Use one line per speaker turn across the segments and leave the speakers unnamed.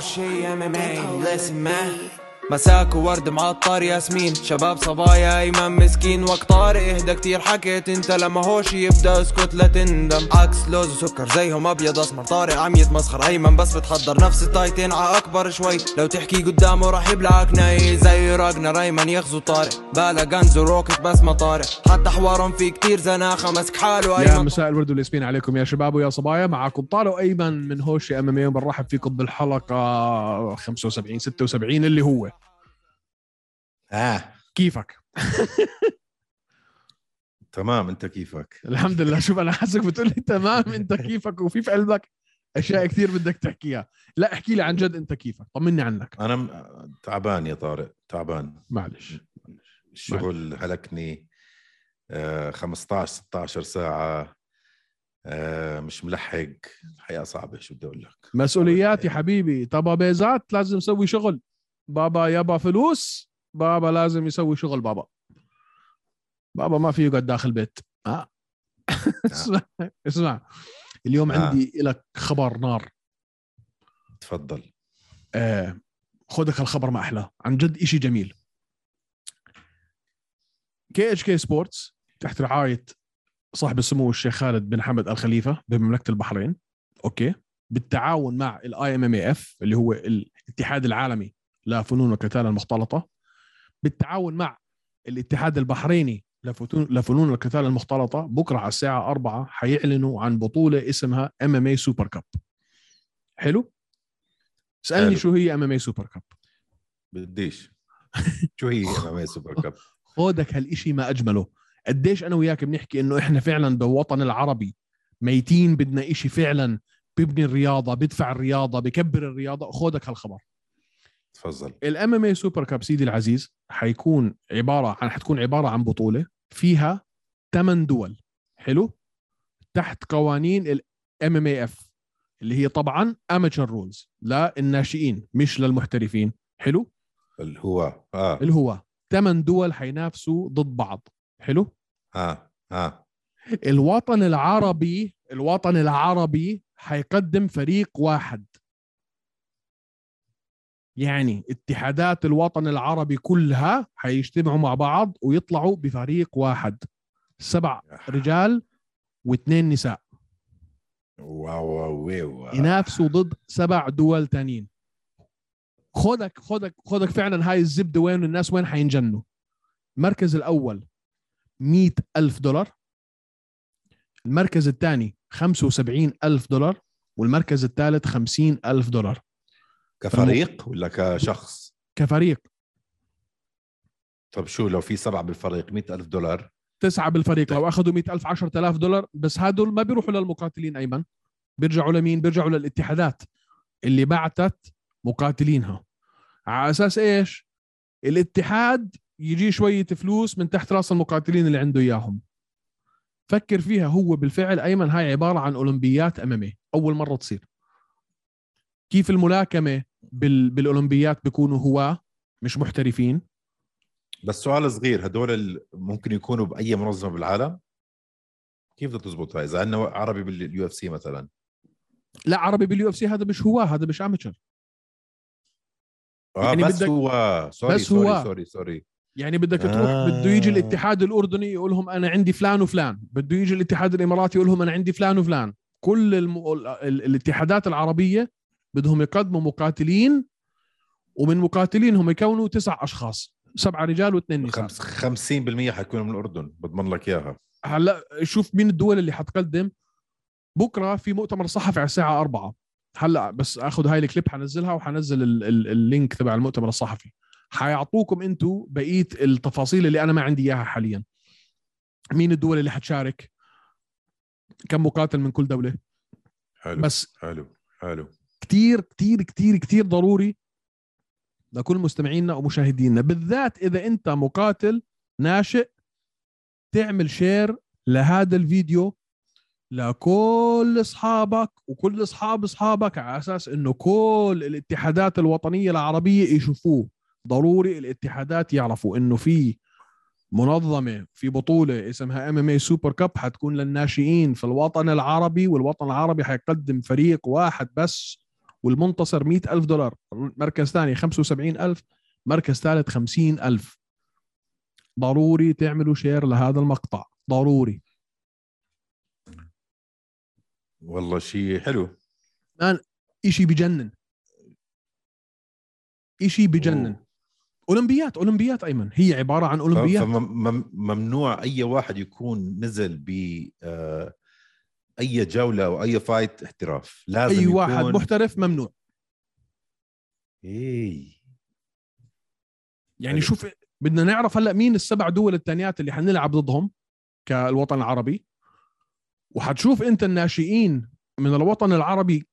شي ام ام اي listen man مساك وورد معطر ياسمين شباب صبايا ايمن مسكين وقت طارق اهدى كتير حكيت انت لما هوش يبدا اسكت لا تندم عكس لوز وسكر زيهم ابيض اسمر طارق عم يتمسخر ايمن بس بتحضر نفس التايتين ع اكبر شوي لو تحكي قدامه راح يبلعك ناي زي راجنا ريمان يغزو طارق بالا غنز وروكت بس ما طارق حتى حوارهم في كتير زناخه مسك حاله
يا
ايمن
مساء الورد والياسمين عليكم يا شباب ويا صبايا معاكم طارق ايمن من هوش ام ام بنرحب فيكم بالحلقه 75 76 اللي هو
اه
كيفك
تمام انت كيفك
الحمد لله شوف انا حاسك بتقول لي تمام انت كيفك وفي في قلبك اشياء كثير بدك تحكيها لا احكي لي عن جد انت كيفك طمني عنك
انا م- تعبان يا طارق تعبان
معلش
الشغل هلكني آه 15 16 ساعه آه مش ملحق الحياه صعبه شو بدي اقول لك
مسؤوليات يا حبيبي طبعا بيزات لازم يسوي شغل بابا يابا فلوس بابا لازم يسوي شغل بابا بابا ما فيه يقعد داخل بيت آه. اسمع اسمع اليوم
آه.
عندي لك خبر نار
تفضل
آه. خدك الخبر ما احلاه عن جد إشي جميل كي اتش كي سبورتس تحت رعايه صاحب السمو الشيخ خالد بن حمد الخليفه بمملكه البحرين اوكي بالتعاون مع الاي ام ام اف اللي هو الاتحاد العالمي لفنون القتال المختلطه بالتعاون مع الاتحاد البحريني لفتون- لفنون القتال المختلطه بكره على الساعه 4 حيعلنوا عن بطوله اسمها ام ام اي سوبر كاب حلو اسالني
حلو.
شو هي ام ام اي سوبر كاب
بديش شو هي MMA سوبر كاب
خودك هالإشي ما أجمله قديش أنا وياك بنحكي إنه إحنا فعلا بالوطن العربي ميتين بدنا إشي فعلا بيبني الرياضة بيدفع الرياضة بكبر الرياضة خودك هالخبر
تفضل
الام ام اي سوبر كاب سيدي العزيز حيكون عباره عن حتكون عباره عن بطوله فيها ثمان دول حلو تحت قوانين الام ام اي اف اللي هي طبعا اماتشر رولز لا الناشئين مش للمحترفين حلو
اللي هو اه
الهواة ثمان دول حينافسوا ضد بعض حلو
اه اه
الوطن العربي الوطن العربي حيقدم فريق واحد يعني اتحادات الوطن العربي كلها حيجتمعوا مع بعض ويطلعوا بفريق واحد سبع رجال واثنين نساء
واو واو واو
ينافسوا ضد سبع دول تانيين خدك خدك خدك فعلا هاي الزبده وين الناس وين حينجنوا المركز الاول مئة ألف دولار المركز الثاني خمسة وسبعين ألف دولار والمركز الثالث خمسين ألف دولار
كفريق ولا كشخص
كفريق
طب شو لو في سبعه بالفريق مئة ألف دولار
تسعة بالفريق لو أخذوا مئة ألف عشرة آلاف دولار بس هدول ما بيروحوا للمقاتلين أيمن بيرجعوا لمين بيرجعوا للاتحادات اللي بعتت مقاتلينها على أساس إيش الاتحاد يجي شوية فلوس من تحت راس المقاتلين اللي عنده إياهم فكر فيها هو بالفعل أيمن هاي عبارة عن أولمبيات أمامية أول مرة تصير كيف الملاكمة بال... بالأولمبيات بيكونوا هواة مش محترفين
بس سؤال صغير هدول ال- ممكن يكونوا باي منظمه بالعالم كيف بدك تزبطها اذا عندنا عربي باليو اف سي مثلا
لا عربي باليو اف سي هذا مش هواه هذا مش اماتشر
آه
يعني
يعني بس
بدك-
بدك... هو سوري
بس
بس سوري
هو.
هو... سوري سوري
يعني بدك تروح
آه.
بده يجي الاتحاد الاردني يقول لهم انا عندي فلان وفلان بده يجي الاتحاد الاماراتي يقول لهم انا عندي فلان وفلان كل الم... ال... ال- الاتحادات العربيه بدهم يقدموا مقاتلين ومن مقاتلينهم يكونوا تسع اشخاص سبعه رجال واثنين نساء
خمس... 50% حيكونوا من الاردن بضمن لك اياها
هلا شوف مين الدول اللي حتقدم بكره في مؤتمر صحفي على الساعه 4 هلا بس اخذ هاي الكليب حنزلها وحنزل ال- ال- اللينك تبع المؤتمر الصحفي حيعطوكم انتم بقيه التفاصيل اللي انا ما عندي اياها حاليا مين الدول اللي حتشارك كم مقاتل من كل دوله
حلو بس...
بس
حلو حلو
كتير كتير كتير كتير ضروري لكل مستمعينا ومشاهدينا بالذات اذا انت مقاتل ناشئ تعمل شير لهذا الفيديو لكل اصحابك وكل اصحاب اصحابك على اساس انه كل الاتحادات الوطنيه العربيه يشوفوه ضروري الاتحادات يعرفوا انه في منظمه في بطوله اسمها ام ام اي سوبر كاب حتكون للناشئين في الوطن العربي والوطن العربي حيقدم فريق واحد بس والمنتصر 100 ألف دولار مركز ثاني 75 ألف مركز ثالث 50 ألف ضروري تعملوا شير لهذا المقطع ضروري
والله شيء حلو
إشي بجنن إشي بجنن أولمبيات أولمبيات أيمن هي عبارة عن أولمبيات
فممنوع اي واحد يكون نزل ب آه، اي جوله او اي فايت احتراف لازم
أي واحد
يكون...
محترف ممنوع
إيه.
يعني
حلو.
شوف بدنا نعرف هلا مين السبع دول الثانيات اللي حنلعب ضدهم كالوطن العربي وحتشوف انت الناشئين من الوطن العربي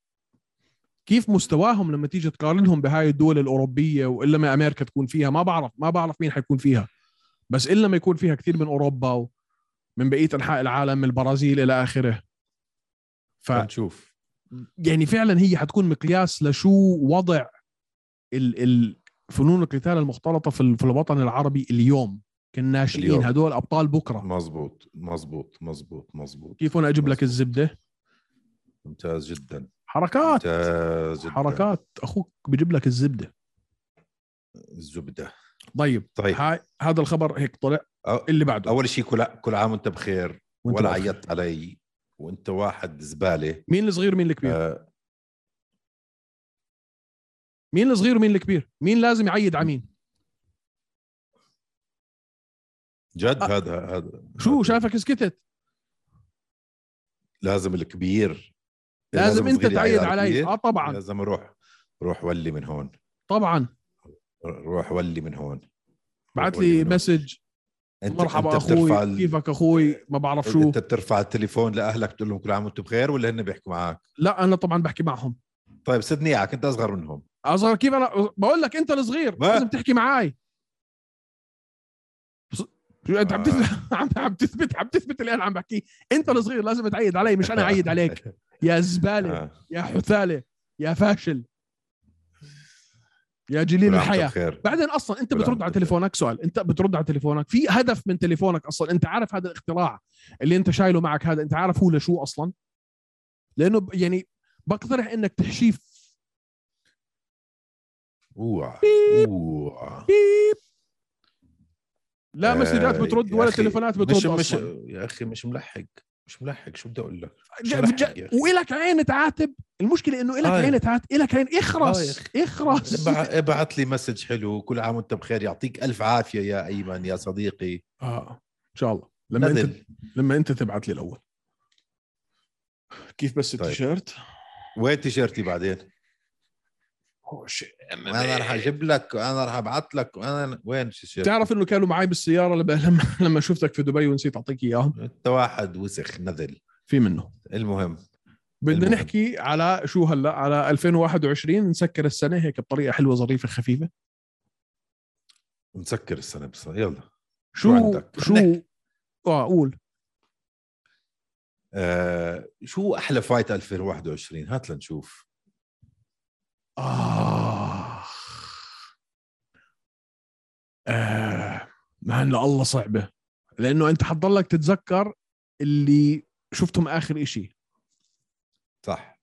كيف مستواهم لما تيجي تقارنهم بهاي الدول الاوروبيه والا ما امريكا تكون فيها ما بعرف ما بعرف مين حيكون فيها بس الا ما يكون فيها كثير من اوروبا ومن بقيه انحاء العالم من البرازيل الى اخره ف...
فنشوف
يعني فعلا هي حتكون مقياس لشو وضع ال ال فنون القتال المختلطه في, ال- في الوطن العربي اليوم كالناشئين
اليوم.
هدول ابطال بكره
مزبوط مزبوط مزبوط مزبوط
كيف انا اجيب لك الزبده
ممتاز جدا
حركات
ممتاز جدا
حركات اخوك بجيب لك الزبده
الزبده
طيب
طيب
هاي هذا الخبر هيك طلع
أو-
اللي بعده
اول شيء كل كل عام وانت بخير
وانت
ولا
بخير.
عيطت علي وانت واحد زباله
مين الصغير مين الكبير
آه،
مين الصغير مين الكبير مين لازم يعيد على مين
جد
آه.
هذا هذا
شو
هذا
شايفك
إيه،
سكتت
لازم الكبير
لازم انت
الصغير يعيط
تعيد علي
الكبير.
اه طبعا
لازم اروح روح ولي من هون
طبعا
روح ولي من هون
بعت
ولي
لي
من هون.
مسج
انت
مرحبا
انت بترفع
اخوي
ال- إيه.
كيفك اخوي ما بعرف شو
انت بترفع التليفون لاهلك تقول لهم كل عام وانتم بخير ولا هن بيحكوا معك
لا انا طبعا بحكي معهم
طيب سدني اياك انت اصغر منهم
اصغر كيف انا بقول لك انت الصغير
ما-
لازم تحكي معاي بص- شو انت عم
آه.
تثبت عم عم تثبت عم تثبت اللي انا عم بحكيه انت الصغير لازم تعيد علي مش انا اعيد عليك يا زباله
آه.
يا حثاله يا فاشل يا
كل
جليل
عام وأنت
الحياه
بخير
بعدين اصلا انت
كل عام
بترد
وأنت
على
بخير.
تليفونك سؤال انت بترد على تليفونك في هدف من تليفونك اصلا انت عارف هذا الاختراع اللي انت شايله معك هذا انت عارف هو لشو اصلا لانه ب- يعني بقترح انك تحشيه
اوعى اوعى
بيب لا
آه،
مسجات بترد
يا
ولا
أخي،
تليفونات بترد
مش
أصلاً.
مش يا اخي مش ملحق مش ملحق شو بدي اقول لك مش
جا-
ملحق
جا-
يا أخي.
والك عين تعاتب المشكله انه الك
آه.
عين تعاتب الك عين
آه يا
اخرس
أخي.
اخرس
ابع- ابعت لي مسج حلو كل عام وانت بخير يعطيك الف عافيه يا ايمن يا صديقي
اه ان شاء الله لما انت
نزل
لما انت تبعت لي الاول كيف بس
طيب.
التيشيرت
وين تيشيرتي بعدين
هو شيء
انا راح اجيب لك وانا راح ابعث لك وانا وين تيشيرتي
بتعرف انه كانوا معي بالسياره لما لما- لما شفتك في دبي ونسيت اعطيك اياهم
انت واحد وسخ نذل
في منه
المهم
بدنا
المهم.
نحكي على شو هلا على 2021 نسكر السنه هيك بطريقه حلوه ظريفه خفيفه
مسكر السنه بس يلا شو
شو
عندك؟
شو اه قول
آه شو احلى فايت 2021 هات لنشوف
آه آه ما هلا الله صعبة لأنه أنت حتضلك تتذكر اللي شفتهم آخر إشي
صح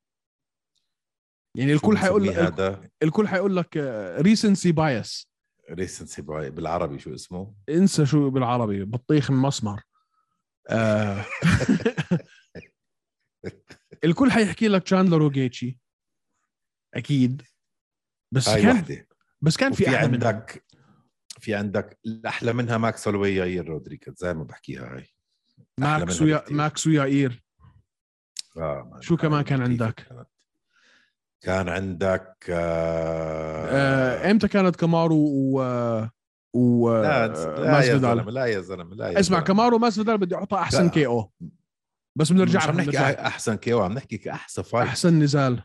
يعني
شو
الكل حيقول
بنسميه
لك
هذا
الكل حيقول لك آه، ريسنسي بايس
ريسنسي بالعربي شو اسمه
انسى شو بالعربي بطيخ من مسمر آه الكل حيحكي لك تشاندلر وجيتشي أكيد بس
هاي
كان
وحده
بس كان في
وفي
أحلى منها.
عندك في عندك الاحلى منها ماكس هولوي يا رودريكز زي ما بحكيها هاي أحلى
ماكس
منها
ويا
بكتير.
ماكس وياير
آه ما-
شو كمان كان
كيف
عندك؟
كانت. كان عندك آه
آه، امتى كانت كامارو و و
لا, لا يا
ماسفيدال؟
زلمه لا يا زلمه لا يا
آه، اسمع
زلمة.
كامارو ماسفيدال بدي احطها احسن
لا.
كي او بس بنرجع
مش عم
لها،
نحكي
بنرجع.
احسن كيو عم نحكي كاحسن فايت
احسن نزال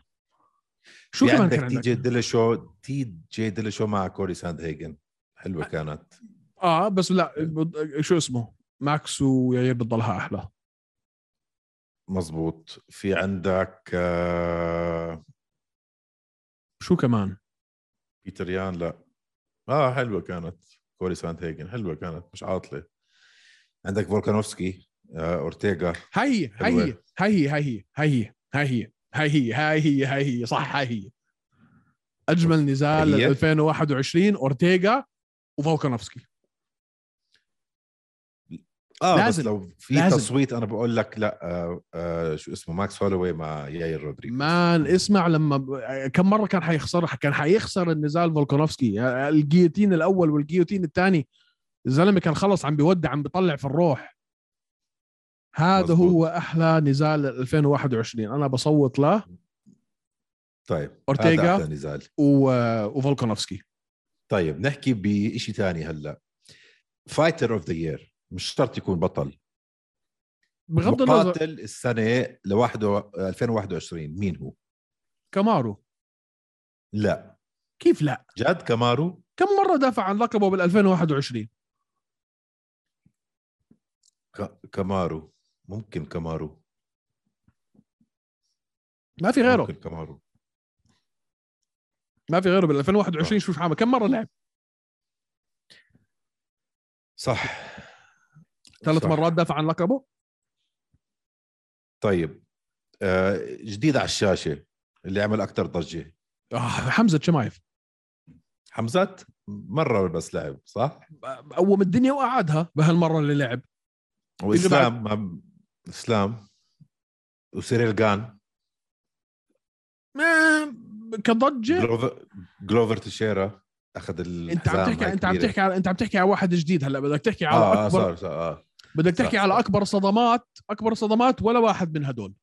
شو
في
كمان
عندك
كان
تي
عندك؟
جي ديليشو تي جي ديليشو مع كوري ساند هيجن حلوه كانت
اه بس لا بض- شو اسمه ماكس وياير بتضلها احلى
مزبوط في عندك آه
شو كمان؟
بيتر يان لا اه حلوه كانت كوري ساند هيجن حلوه كانت مش عاطله عندك فولكانوفسكي آه اورتيغا
هاي هي هاي هي
حلوة.
هاي هي هاي هي هاي هي هاي هي هاي هي هاي هي صح هاي هي اجمل نزال
هي؟
2021 اورتيغا وفولكانوفسكي
اه
لازم.
لازم. بس لو في
لازم.
لازم. تصويت انا بقول لك لا آه آه شو اسمه ماكس هولوي مع ياير رودريغو
مان اسمع لما ب... كم مره كان حيخسرها كان حيخسر النزال فولكانوفسكي آه، الجيوتين الاول والجيوتين الثاني الزلمه كان خلص عم بيودع عم بيطلع في الروح هذا
مزبوط.
هو احلى نزال 2021 انا بصوت له
طيب
أورتيغا.
هذا أحلى نزال
و... وفولكانوفسكي
طيب نحكي بشيء ثاني هلا فايتر اوف ذا يير مش شرط يكون بطل
بغض النظر
مقاتل السنه لوحده 2021 مين هو؟
كامارو
لا
كيف لا
جاد كامارو
كم مره دافع عن لقبه بال 2021
ك- كامارو ممكن كامارو
ما في غيره
ممكن كامارو
ما في غيره بال 2021 شوف شو عمل كم مره لعب
صح
ثلاث
صح.
مرات دافع عن لقبه
طيب آه جديد على الشاشه اللي عمل اكثر ضجه
آه حمزه شمايف
حمزات مره بس لعب صح؟
قوم الدنيا وقعدها بهالمره اللي لعب
واسلام ما- اسلام وسيريل جان
ما- كضجه
جلوفر, جلوفر تشيرا اخذ الحزام
انت عم تحكي
هاي
انت عم
كبيرة.
تحكي على انت عم تحكي على واحد جديد هلا بدك تحكي على
اه, آه
اكبر
صار صار اه
بدك
صح،
تحكي على
صح.
اكبر صدمات اكبر صدمات ولا واحد من هدول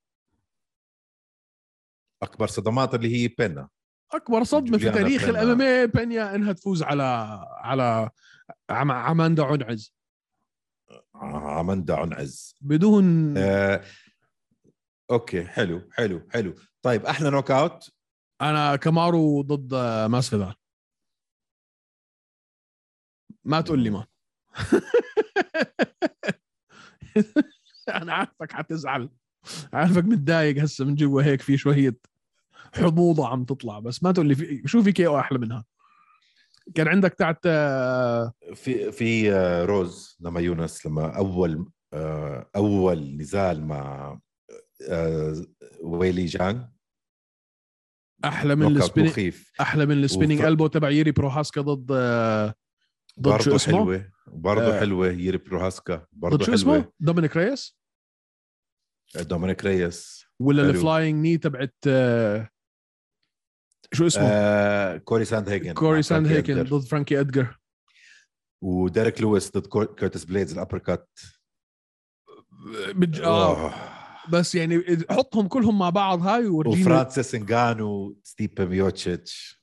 اكبر صدمات اللي هي بينا
اكبر صدمه في
جوليانا
تاريخ
بينا.
الامامي بينيا انها تفوز على على عم- عماندا عنعز
آه اماندا عنعز
بدون
آه اوكي حلو حلو حلو طيب احلى نوك اوت
انا كامارو ضد ماسفيدال ما تقول لي ما انا عارفك حتزعل عارفك متضايق هسه من جوا هيك في شويه حموضه عم تطلع بس ما تقول لي في شو في كي او احلى منها كان عندك تاعت آه،
في في آه، روز لما يونس لما اول آه، اول نزال مع آه، ويلي جانغ
احلى من
نوك اوت
السبيننج
مخيف
احلى من السبيننج
وف-
البو تبع ييري بروهاسكا ضد آه، ضد شو
برضه
اسمه
حلوه برضه
آه.
حلوه يري بروهاسكا
ضد
برضه
شو اسمه
حلوه
دومينيك ريس
دومينيك ريس
ولا
حلو.
الفلاينج ني تبعت آه، شو اسمه
آه، كوري ساند هيجن مع
كوري ساند
فرانكي
هيكن
أدلر.
ضد فرانكي ادجر
وديريك لويس ضد كور- كورتس بليدز الابر كات
بج... آه. بس يعني إذ- حطهم كلهم مع بعض هاي وورجيني
وفرانسيس انغانو ستيبا ميوتشيتش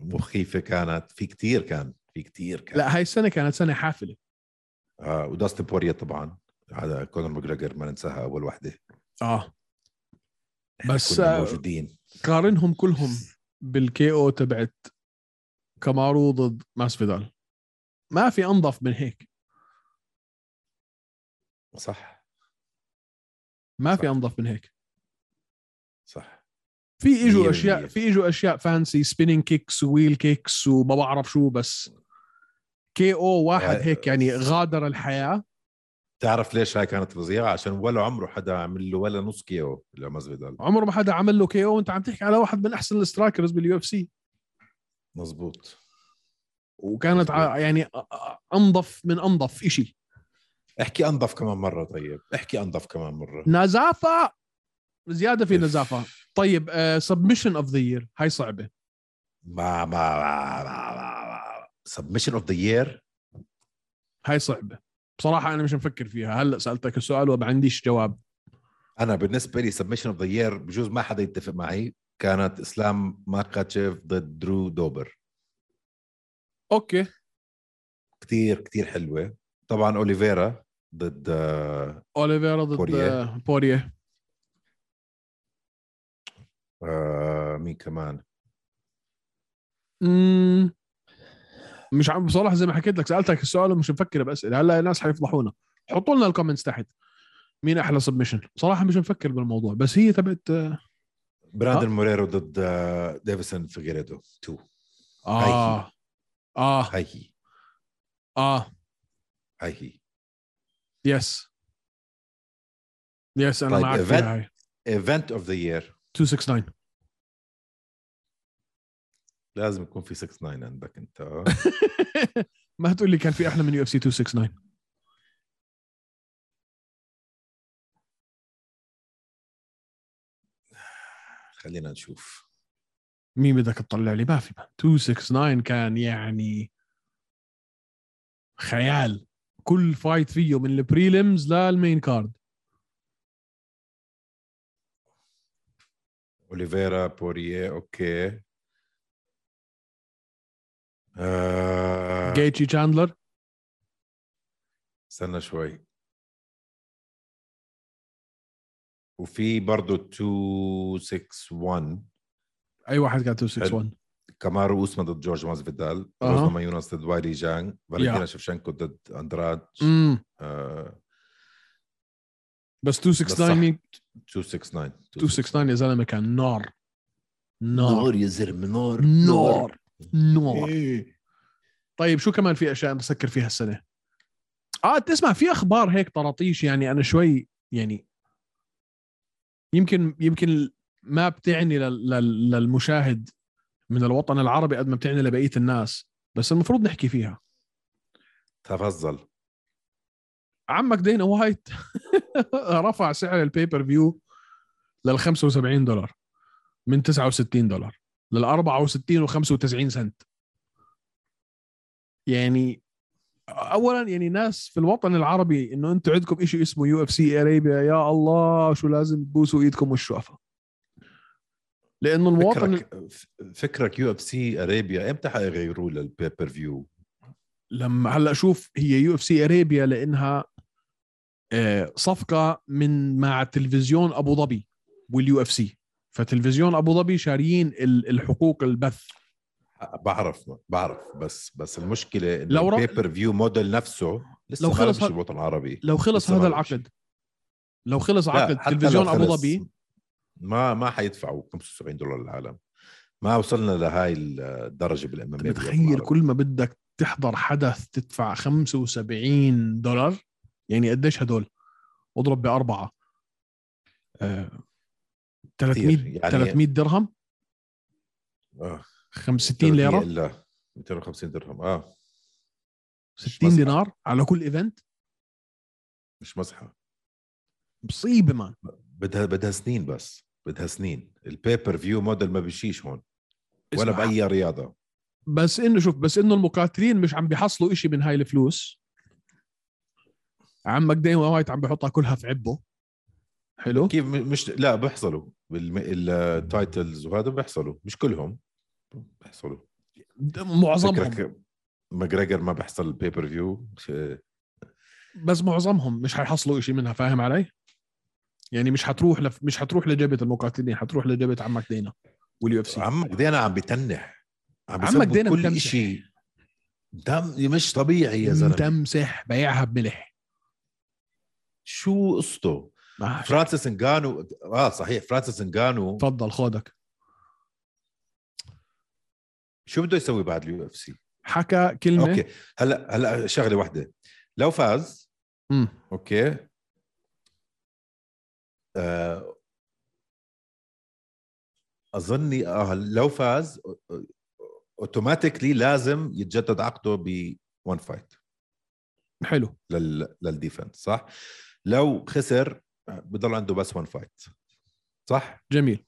مخيفه كانت في كتير كان في كتير كان
لا هاي السنه كانت سنه حافله
آه وداستن بوريا طبعا هذا كونر ماجريجر ما ننساها اول وحده
اه بس
كنا
آه،
موجودين
قارنهم كلهم بالكي او تبعت كامارو ضد ماسفيدال ما في انظف من هيك
صح
ما في
صح.
انظف من هيك
صح
في
مية
اجوا اشياء
بالمية.
في اجوا اشياء فانسي سبيننج كيكس وويل كيكس وما بعرف شو بس كي او واحد
آه.
هيك يعني غادر الحياه
تعرف ليش هاي كانت فظيعه عشان ولا عمره حدا عمل له ولا نص كيو لمازفيدال
عمره ما حدا عمل له كي او انت عم تحكي على واحد من احسن السترايكرز باليو اف سي
مزبوط
وكانت ع- يعني أ- أ- انظف من انظف إشي
احكي انظف كمان مره طيب احكي انظف كمان مره
نزافه زياده في نزافه طيب سبمشن اوف ذا يير هاي صعبه
ما ما ما ما, ما. سبمشن اوف ذا يير
هاي صعبه بصراحه انا مش مفكر فيها هلا سالتك السؤال وما عنديش جواب
انا بالنسبه لي سبمشن اوف ذا يير بجوز ما حدا يتفق معي كانت اسلام ماكاتشيف ضد درو دوبر
اوكي
كتير كتير حلوه طبعا اوليفيرا ضد آه،
اوليفيرا ضد
بوريه.
آه، بوريه
آه، مين كمان
مم. مش عم بصراحه زي ما حكيت لك سالتك السؤال ومش مفكر باسئله هلا الناس حيفضحونا حطوا لنا الكومنتس تحت مين احلى سبمشن صراحه مش مفكر بالموضوع بس هي تبعت آه،
براندن موريرو ضد آه، ديفيسون فيجيريدو 2
اه اه
هاي هي
اه
هاي هي
يس يس انا
طيب،
معك
event-
فيها هاي
ايفنت اوف ذا يير
269
لازم يكون في 6 9 عندك انت آه.
ما هتقول لي كان في احلى من يو اف سي 269
خلينا نشوف
مين بدك تطلع لي ما في ما. 269 كان يعني خيال كل فايت فيه من البريليمز للمين كارد
اوليفيرا بوريه اوكي آه،
جيتشي تشاندلر
استنى شوي وفي برضه 261
اي واحد كان 261
كامارو اوسمان ضد جورج مازفيدال
أها.
روزنا مايونس ضد وايلي جانج فالنتينا شفشنكو ضد اندراد
امم
آه،
بس
بس صح.
269 مين
269
269 يا زلمه كان نار نار
يا زلمه نار
نار نار
إيه.
طيب شو كمان في اشياء بسكر فيها السنه اه تسمع في اخبار هيك طراطيش يعني انا شوي يعني يمكن يمكن ما بتعني لل- لل- للمشاهد من الوطن العربي قد ما بتعني لبقيه الناس بس المفروض نحكي فيها
تفضل
عمك دينا وايت رفع سعر البيبر فيو لل 75 دولار من 69 دولار لل 64 و95 سنت يعني اولا يعني ناس في الوطن العربي انه انتم عندكم شيء اسمه يو اف سي اريبيا يا الله شو لازم تبوسوا ايدكم والشوفه لانه المواطن
فكرك فكرك يو اف سي اريبيا امتى حيغيروا للبيبر فيو
لما هلا شوف هي يو اف سي اريبيا لانها آه، صفقه من مع تلفزيون ابو ظبي واليو اف سي فتلفزيون ابو ظبي شاريين ال- الحقوق البث
بعرف بعرف بس بس المشكله انه
لو
لو
رأ-
البيبر فيو موديل نفسه لسه
لو
ما
خلص
مشي
هاد-
بالوطن العربي
لو خلص
لسه ما
هذا
عملوا شيء.
العقد لو خلص
لا،
عقد
حتى لو
تلفزيون ابو
خلص،
ظبي
ما ما حيدفعوا 75 دولار للعالم ما وصلنا لهاي الدرجه بالام ام
بتخيل كل ما بدك تحضر حدث تدفع 75 دولار يعني قديش هدول اضرب باربعه آه، 300
يعني-
300 درهم
آه،
65 ليره
الا 250 درهم اه
60
مسحة.
دينار على كل ايفنت
مش مسحه
مصيبه مان
بدها بدها سنين بس بدها سنين البيبر فيو موديل ما بيشيش هون ولا
اسمع،
باي رياضه
بس انه شوف بس انه المقاتلين مش عم بيحصلوا إشي من هاي الفلوس عمك دايما وايت عم بحطها كلها في عبه حلو
كيف م- مش لا بيحصلوا بالم- التايتلز وهذا بيحصلوا مش كلهم بيحصلوا
د- معظمهم
فكرك ماجريجر ما بيحصل البيبر فيو
بس معظمهم مش حيحصلوا إشي منها فاهم علي يعني مش حتروح لف مش حتروح لجبهه المقاتلين حتروح لجبهه عمك دينا واليو اف سي
عمك دينا عم بتنح عم
عمك
بيسبب
دينا
كل
بتمسح.
شيء دم مش طبيعي يا زلمه
تمسح بيعها بملح
شو قصته
ما-
فرانسيس انجانو اه صحيح فرانسيس انجانو
تفضل خودك
شو بده يسوي بعد اليو اف سي
حكى كلمه
اوكي هلا هلا شغله واحده لو فاز
مم.
اوكي آه، اظني اه لو فاز اوتوماتيكلي لازم يتجدد عقده ب 1 فايت
حلو
لل... للديفنس صح لو خسر آه، بضل عنده بس 1 فايت صح
جميل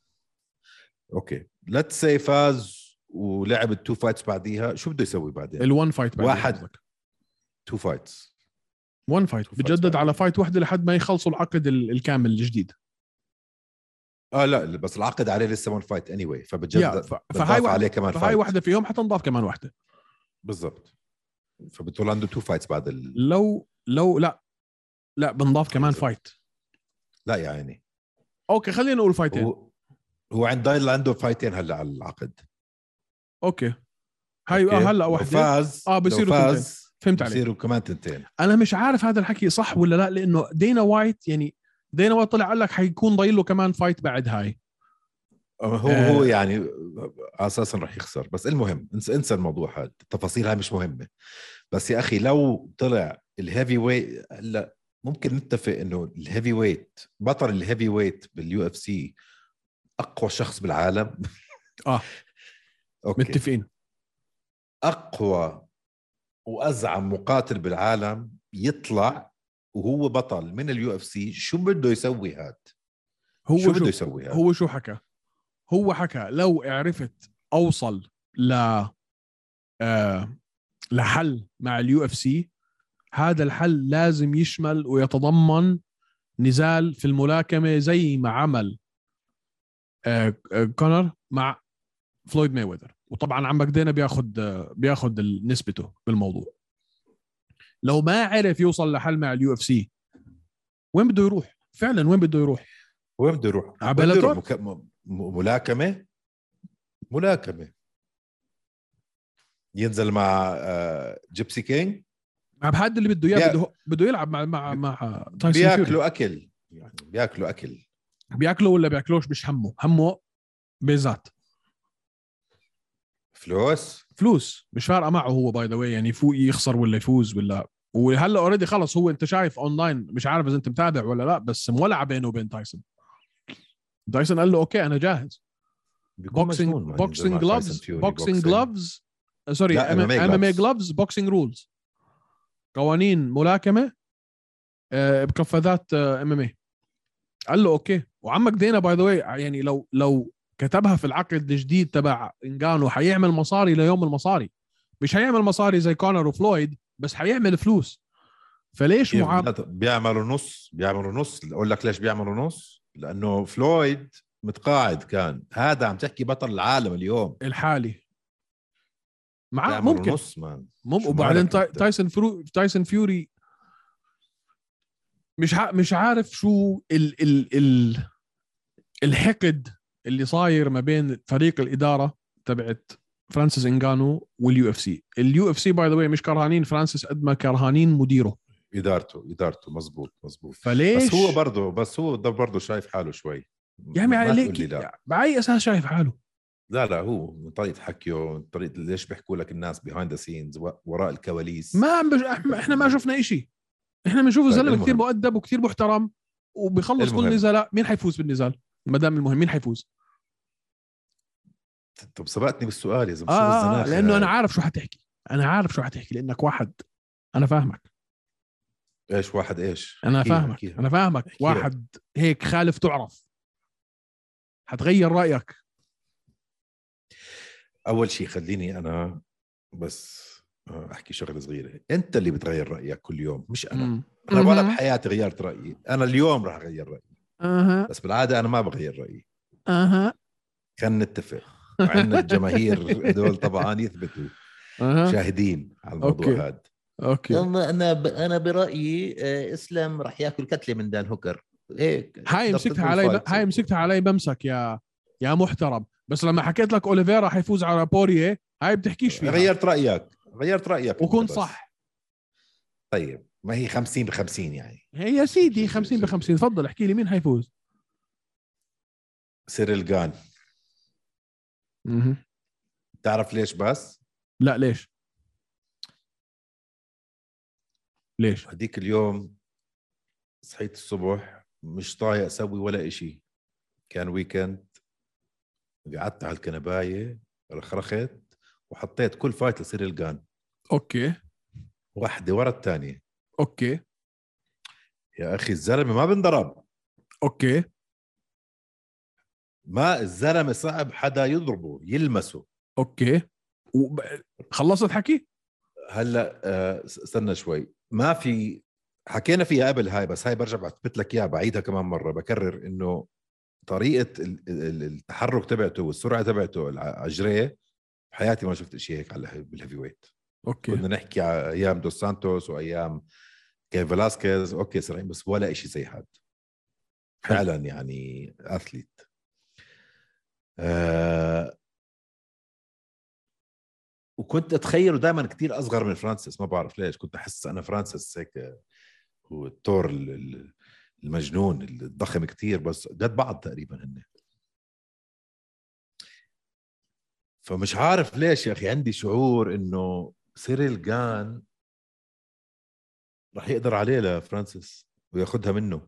اوكي ليتس سي فاز ولعب التو فايتس بعديها شو بده يسوي بعدين
الون فايت بعدين
واحد.
قصدك.
تو فايتس
ون فايت
فايتس
بتجدد
بعد.
على فايت واحده لحد ما يخلصوا العقد ال- الكامل الجديد
اه لا بس العقد عليه لسه 1 فايت اني واي
يا،
فبتجدد
ف- فهاي
فهاي
واحده
عليه كمان
فهاي
فايت
واحده فيهم حتنضاف كمان واحده
بالضبط فبتقول عنده تو فايتس بعد ال...
لو لو لا لا بنضاف كمان فايت
لا يا عيني
اوكي خلينا نقول فايتين
هو هو عند دايل عنده فايتين هلا على العقد
اوكي هاي
أوكي؟
آه هلا
لو
واحده
فاز
آه،
لو
بصيروا
فاز
فهمت عليك
بصيروا كمان تنتين
انا مش عارف هذا الحكي صح ولا لا لانه دينا وايت يعني دينا وايت طلع قال لك حيكون ضايل له كمان فايت بعد هاي
هو
آه.
هو يعني اساسا رح يخسر بس المهم انسى انسى الموضوع هذا التفاصيل هاي مش مهمه بس يا اخي لو طلع الهيفي ويت هلا ممكن نتفق انه الهيفي ويت بطل الهيفي ويت باليو اف سي اقوى شخص بالعالم
آه.
اوكي
متفقين
اقوى وازعم مقاتل بالعالم يطلع وهو بطل من اليو اف سي شو بده يسوي هاد
هو شو
شو بده يسوي هاد
هو شو حكى هو حكى لو عرفت اوصل ل آه لحل مع اليو اف سي هذا الحل لازم يشمل ويتضمن نزال في الملاكمه زي ما عمل آه آه، كونر مع فلويد مايويذر وطبعا عم بدينا بياخد آه، بياخد ال- نسبته بالموضوع لو ما عرف يوصل لحل مع اليو اف سي وين بده يروح فعلا وين بده يروح
وين بده يروح؟
على
وين بده يروح؟
بلاتور؟
مك- م- م- ملاكمه ملاكمه ينزل مع آه، جيبسي كينج
مع حد اللي بده اياه
بيا-
بده بده يلعب مع مع مع تايسون فيوري
بياكلوا اكل يعني بياكلوا اكل
بياكله ولا بياكلوش مش همه همه بيزات
فلوس
فلوس مش فارقه معه هو باي ذا واي يعني يفوق يخسر ولا يفوز ولا وهلا اوريدي خلص هو انت شايف اونلاين مش عارف اذا انت متابع ولا لا بس مولعه بينه وبين تايسون تايسون قال له اوكي انا جاهز
بيكون
بوكسينج
مجنون ما ينزل
بوكسينج
مع تايسون
جلوفز
فيوري،
بوكسينج جلوفز سوري
لا، MMA
ام ام اي
gloves.
جلوفز بوكسينج رولز قوانين ملاكمه آه، بقفازات ام ام اي قال له اوكي وعمك دينا باي ذا واي يعني لو لو كتبها في العقد الجديد تبع انجانو حيعمل مصاري ليوم المصاري مش حيعمل مصاري زي كونر وفلويد بس حيعمل فلوس فليش
كيف
معامله
بدها- بيعملوا نص بيعملوا نص اقول لك ليش بيعملوا نص لانه فلويد متقاعد كان هذا عم تحكي بطل العالم اليوم
الحالي مع
بيعملوا
آه، ممكن
نص مان
مم
شو
وبعدين
مالك
تاي-
أنت؟
تايسون فرو تايسون فيوري مش ع... مش عارف شو ال... ال... ال... الحقد اللي صاير ما بين فريق الاداره تبعت فرانسيس انجانو واليو اف سي اليو اف سي باي ذا واي مش كرهانين فرانسيس قد ما كرهانين مديره
ادارته ادارته مزبوط مزبوط
فليش
بس هو برضه بس هو ده برضه شايف حاله شوي
يا عمي
ما
على
تقول
ليك
لي لا.
باي اساس شايف حاله
لا لا هو من طريقه حكيه من طريقه ليش بيحكوا لك الناس بيهايند ذا سينز وراء الكواليس
ما عم بش... إحنا- احنا ما شفنا إشي احنا بنشوفه
طيب،
زلمه كثير
المهم.
مؤدب وكثير محترم وبيخلص كل
المهم.
نزال مين حيفوز بالنزال ما دام المهم مين حيفوز
طب سبقتني بالسؤال يا زلمه شو
آه, آه
الزناخة
لانه انا
هاي؟
عارف شو حتحكي انا عارف شو حتحكي لانك واحد انا فاهمك
ايش يعني واحد ايش
انا
احكيها،
فاهمك
احكيها.
انا فاهمك
احكيها.
واحد هيك خالف تعرف حتغير رايك
اول شيء خليني انا بس آه، احكي شغله صغيره انت اللي بتغير رايك كل يوم مش انا
مم.
انا ولا
مهم.
بحياتي غيرت رايي انا اليوم راح اغير رايي
اها
بس بالعاده انا ما بغير رايي
اها
خلينا نتفق عندنا الجماهير هدول طبعا يثبتوا
اها
شاهدين على الموضوع
آه. أوكي.
هذا
اوكي
أما انا ب... انا برايي آه، اسلام راح ياكل كتله من دان هوكر هيك
هاي
ضبط
مسكتها علي
الفايت.
هاي مسكتها علي بمسك يا يا محترم بس لما حكيت لك اوليفيرا حيفوز على بوريه هاي بتحكيش فيها
غيرت رايك غيرت رايك
وكنت
أنت بس.
صح
طيب ما هي 50 ب 50 يعني
هي يا سيدي 50 ب 50 تفضل احكي لي مين حيفوز
سيريل جان تعرف ليش بس
لا ليش ليش
هديك اليوم صحيت الصبح مش طايق اسوي ولا إشي كان ويكند قعدت على الكنبايه رخرخت وحطيت كل فايت لسيريل جان
اوكي
واحده ورا الثانيه
اوكي
يا اخي الزلمه ما بنضرب
اوكي
ما الزلمه صعب حدا يضربه يلمسه
اوكي وب... خلصت حكي
هلا آه، س- استنى شوي ما في حكينا فيها قبل هاي بس هاي برجع بثبت لك اياها بعيدها كمان مره بكرر انه طريقه ال- ال- التحرك تبعته والسرعه تبعته الع- على جريه بحياتي ما شفت شيء هيك على الهي- بالهيفي ويت
اوكي
كنا نحكي على ايام دوس سانتوس وايام كيف فلاسكيز اوكي سرعين بس ولا شيء زي هاد فعلا يعني اثليت آه وكنت اتخيله دائما كتير اصغر من فرانسيس ما بعرف ليش كنت احس انا فرانسيس هيك هو الثور ال- ال- المجنون الضخم كتير بس قد بعض تقريبا هن فمش عارف ليش يا اخي عندي شعور انه سيريل جان رح يقدر عليه لفرانسيس وياخذها منه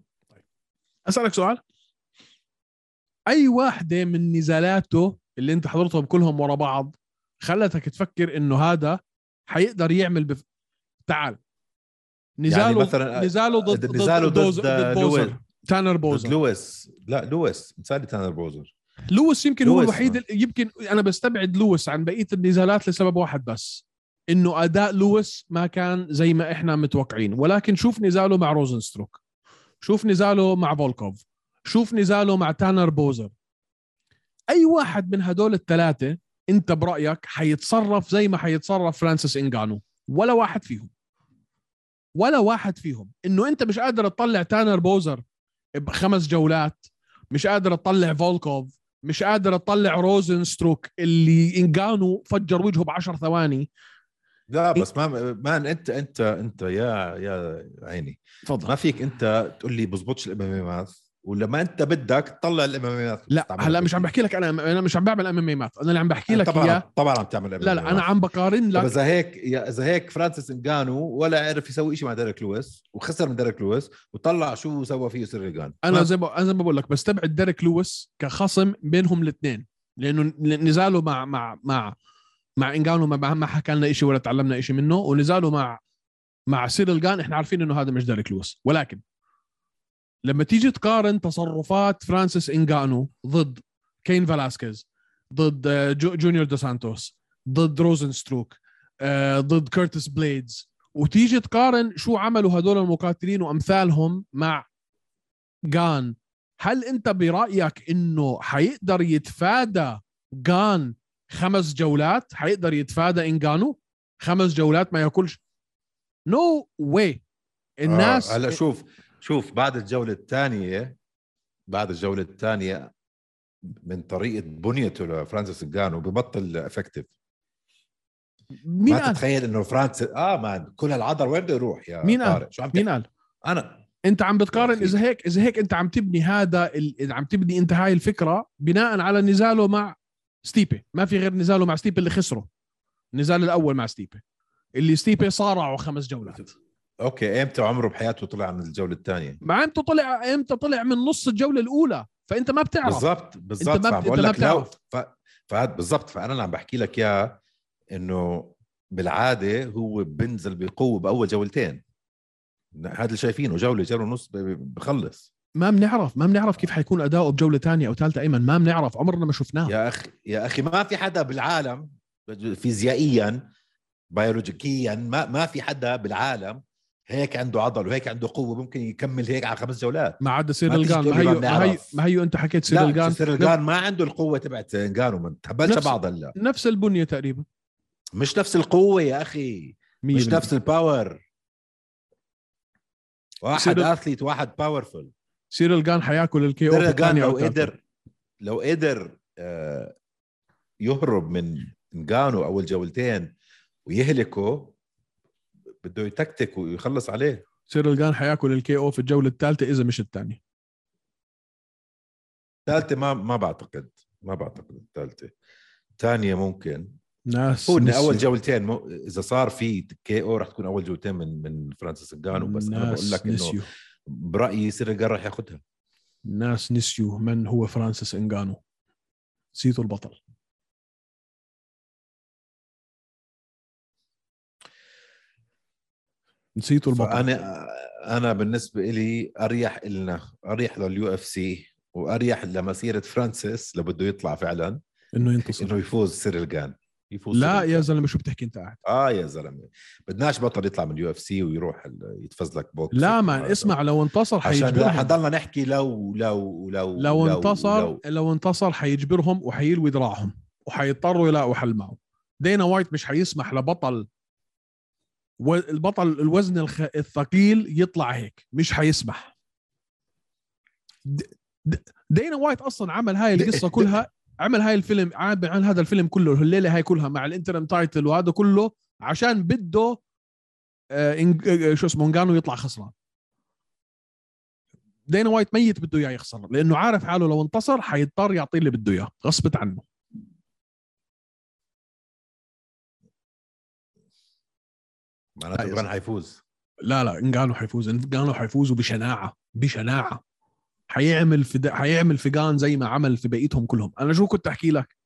اسالك سؤال اي واحده من نزالاته اللي انت حضرتهم كلهم ورا بعض خلتك تفكر انه هذا حيقدر يعمل بف... تعال
يعني
نزاله
مثلا
نزاله ضد ضد
نزاله ضد
بوز- ضد
لويل.
بوزر تانر
ضد
بوزر
لويس لا لويس انسان تانر بوزر
لويس يمكن هو
لويس،
الوحيد
آه.
ال- يمكن انا بستبعد لويس عن بقيه النزالات لسبب واحد بس انه اداء لويس ما كان زي ما احنا متوقعين ولكن شوف نزاله مع روزنستروك شوف نزاله مع فولكوف شوف نزاله مع تانر بوزر اي واحد من هدول الثلاثه انت برايك حيتصرف زي ما حيتصرف فرانسيس انغانو ولا واحد فيهم ولا واحد فيهم انه انت مش قادر تطلع تانر بوزر بخمس جولات مش قادر تطلع فولكوف مش قادر تطلع روزنستروك اللي انغانو فجر وجهه ب 10 ثواني
لا
إيه.
بس ما مان انت انت انت يا يا عيني
تفضل
ما فيك انت تقول لي بزبطش إيه الاماميات ولما انت بدك تطلع إيه الاماميات
لا هلا مش عم بحكي لك انا انا مش عم بعمل ام ام انا اللي عم بحكي لك
طبعا
اياه
طبعا إيه عم تعمل إيه
لا لا انا عم بقارن
طب
لك
اذا هيك يا- اذا هيك فرانسيس انجانو ولا عرف يسوي شيء مع ديريك لويس وخسر من ديريك لويس وطلع شو سوى فيه سيرجان
انا زي ما انا زي ما بقول لك بستبعد ديريك لويس كخصم بينهم الاثنين لانه نزاله مع مع مع مع انجانو ما ما حكى لنا شيء ولا تعلمنا شيء منه ونزاله مع مع سيريل جان احنا عارفين انه هذا مش ديريك لويس ولكن لما تيجي تقارن تصرفات فرانسيس انجانو ضد كين فلاسكيز ضد آه، جو جونيور دو سانتوس ضد روزنستروك آه، ضد كيرتس بليدز وتيجي تقارن شو عملوا هدول المقاتلين وامثالهم مع جان هل انت برايك انه حيقدر يتفادى جان خمس جولات حيقدر يتفادى انجانو خمس جولات ما ياكلش نو no واي الناس إيه.
آه هلا شوف شوف بعد الجوله الثانيه بعد الجوله الثانيه من طريقه بنيته لفرانسيس انجانو ببطل افكتيف
مين
ما
قال
تتخيل انه فرانسيس اه مان كل هالعذر وين بده يروح يا
مين قال؟
طارق شو عم
مين
تحكي؟
قال
انا
انت عم بتقارن
أخي.
اذا هيك اذا هيك انت عم تبني هذا ال... عم تبني انت هاي الفكره بناء على نزاله مع ستيبي ما في غير نزاله مع ستيبي اللي خسره النزال الاول مع ستيبي اللي ستيبي صارعه خمس جولات
اوكي امتى عمره بحياته طلع من الجوله الثانيه
مع امتى طلع امتى طلع من نص الجوله الاولى فانت ما بتعرف
بالضبط بالضبط
ما-
فعم
أنت
بقول
ما
لك لو
بتعرف.
ف... فهاد بالضبط فانا اللي عم بحكي لك اياه انه بالعاده هو بنزل بقوه باول جولتين هذا اللي شايفينه جوله جوله ونص ب- ب- بخلص
ما بنعرف ما بنعرف كيف حيكون اداؤه بجوله ثانيه او ثالثه ايمن ما بنعرف عمرنا ما شفناه
يا اخي يا اخي ما في حدا بالعالم فيزيائيا بيولوجيكيا ما ما في حدا بالعالم هيك عنده عضل وهيك عنده قوه ممكن يكمل هيك على خمس جولات
ما عاد
ما
سيريل
فيش
جان ما
تقول لي
هيو
ما
ما هيو,
بنعرف.
ما هيو انت حكيت سيريل
لا
جان
سيرجان ما عنده القوه تبعت انجانو ما تهبلش
نفس-
بعض هلا
نفس البنيه تقريبا
مش نفس القوه يا اخي
مية
مش
بالمية.
نفس الباور واحد
سيرو-
اثليت واحد باورفul
سيريل جان حياكل الكي او
دراجان
الثانيه
لو
او الثالثة.
قدر لو قدر آه، يهرب من انجانو اول جولتين ويهلكه بده يتكتك ويخلص عليه
سيريل جان حياكل الكي او في الجوله الثالثه اذا مش الثانيه
ثالثه ما ما بعتقد ما بعتقد الثالثه ثانيه ممكن
ناس
هو إن
نسيت.
اول جولتين مو اذا صار في كي او رح تكون اول جولتين من من فرانسيس انجانو بس انا
ناس
بقول لك انه
نسيوا
برايي سيرجان رح ياخذها
ناس نسيوا من هو فرانسيس انغانو نسيتوا البطل نسيتوا البطل
فانا انا بالنسبه لي اريح لنا اريح لليو اف سي واريح لمسيره فرانسيس لو بده يطلع فعلا
انه ينتصر
انه يفوز سيرلجان يفوز
لا
سيرلجان.
يا زلمه شو بتحكي انت قاعد
اه يا زلمه بدناش بطل يطلع من اليو اف سي ويروح ال- يتفزلك بوكس
لا
وكل
مان
هذا.
اسمع لو انتصر
عشان لا
حيجبرهم
حضلنا نحكي لو لو لو
لو انتصر
لو
لو انتصر حيجبرهم وحيلوي ذراعهم وحيضطروا يلاقوا حل معه دينا وايت مش حيسمح لبطل و- البطل الوزن الخ... الثقيل يطلع هيك مش حيسمح د... د... دينا وايت اصلا عمل هاي
د-
القصه
د-
كلها عمل هاي الفيلم عمل عمل هذا الفيلم كله الليله هاي كلها مع الانترم تايتل وهذا كله عشان بده آه، إنج- آه، شو اسمه انجانو يطلع خسران دينا وايت ميت بده اياه يخسر لانه عارف حاله لو انتصر حيضطر يعطيه اللي بده اياه غصبت عنه
معناته
لا يا
كان حيفوز
لا لا انجانو حيفوز انجانو حيفوز وبشناعه بشناعه حيعمل في د... حيعمل في جان زي ما عمل في بقيتهم كلهم انا شو كنت احكي لك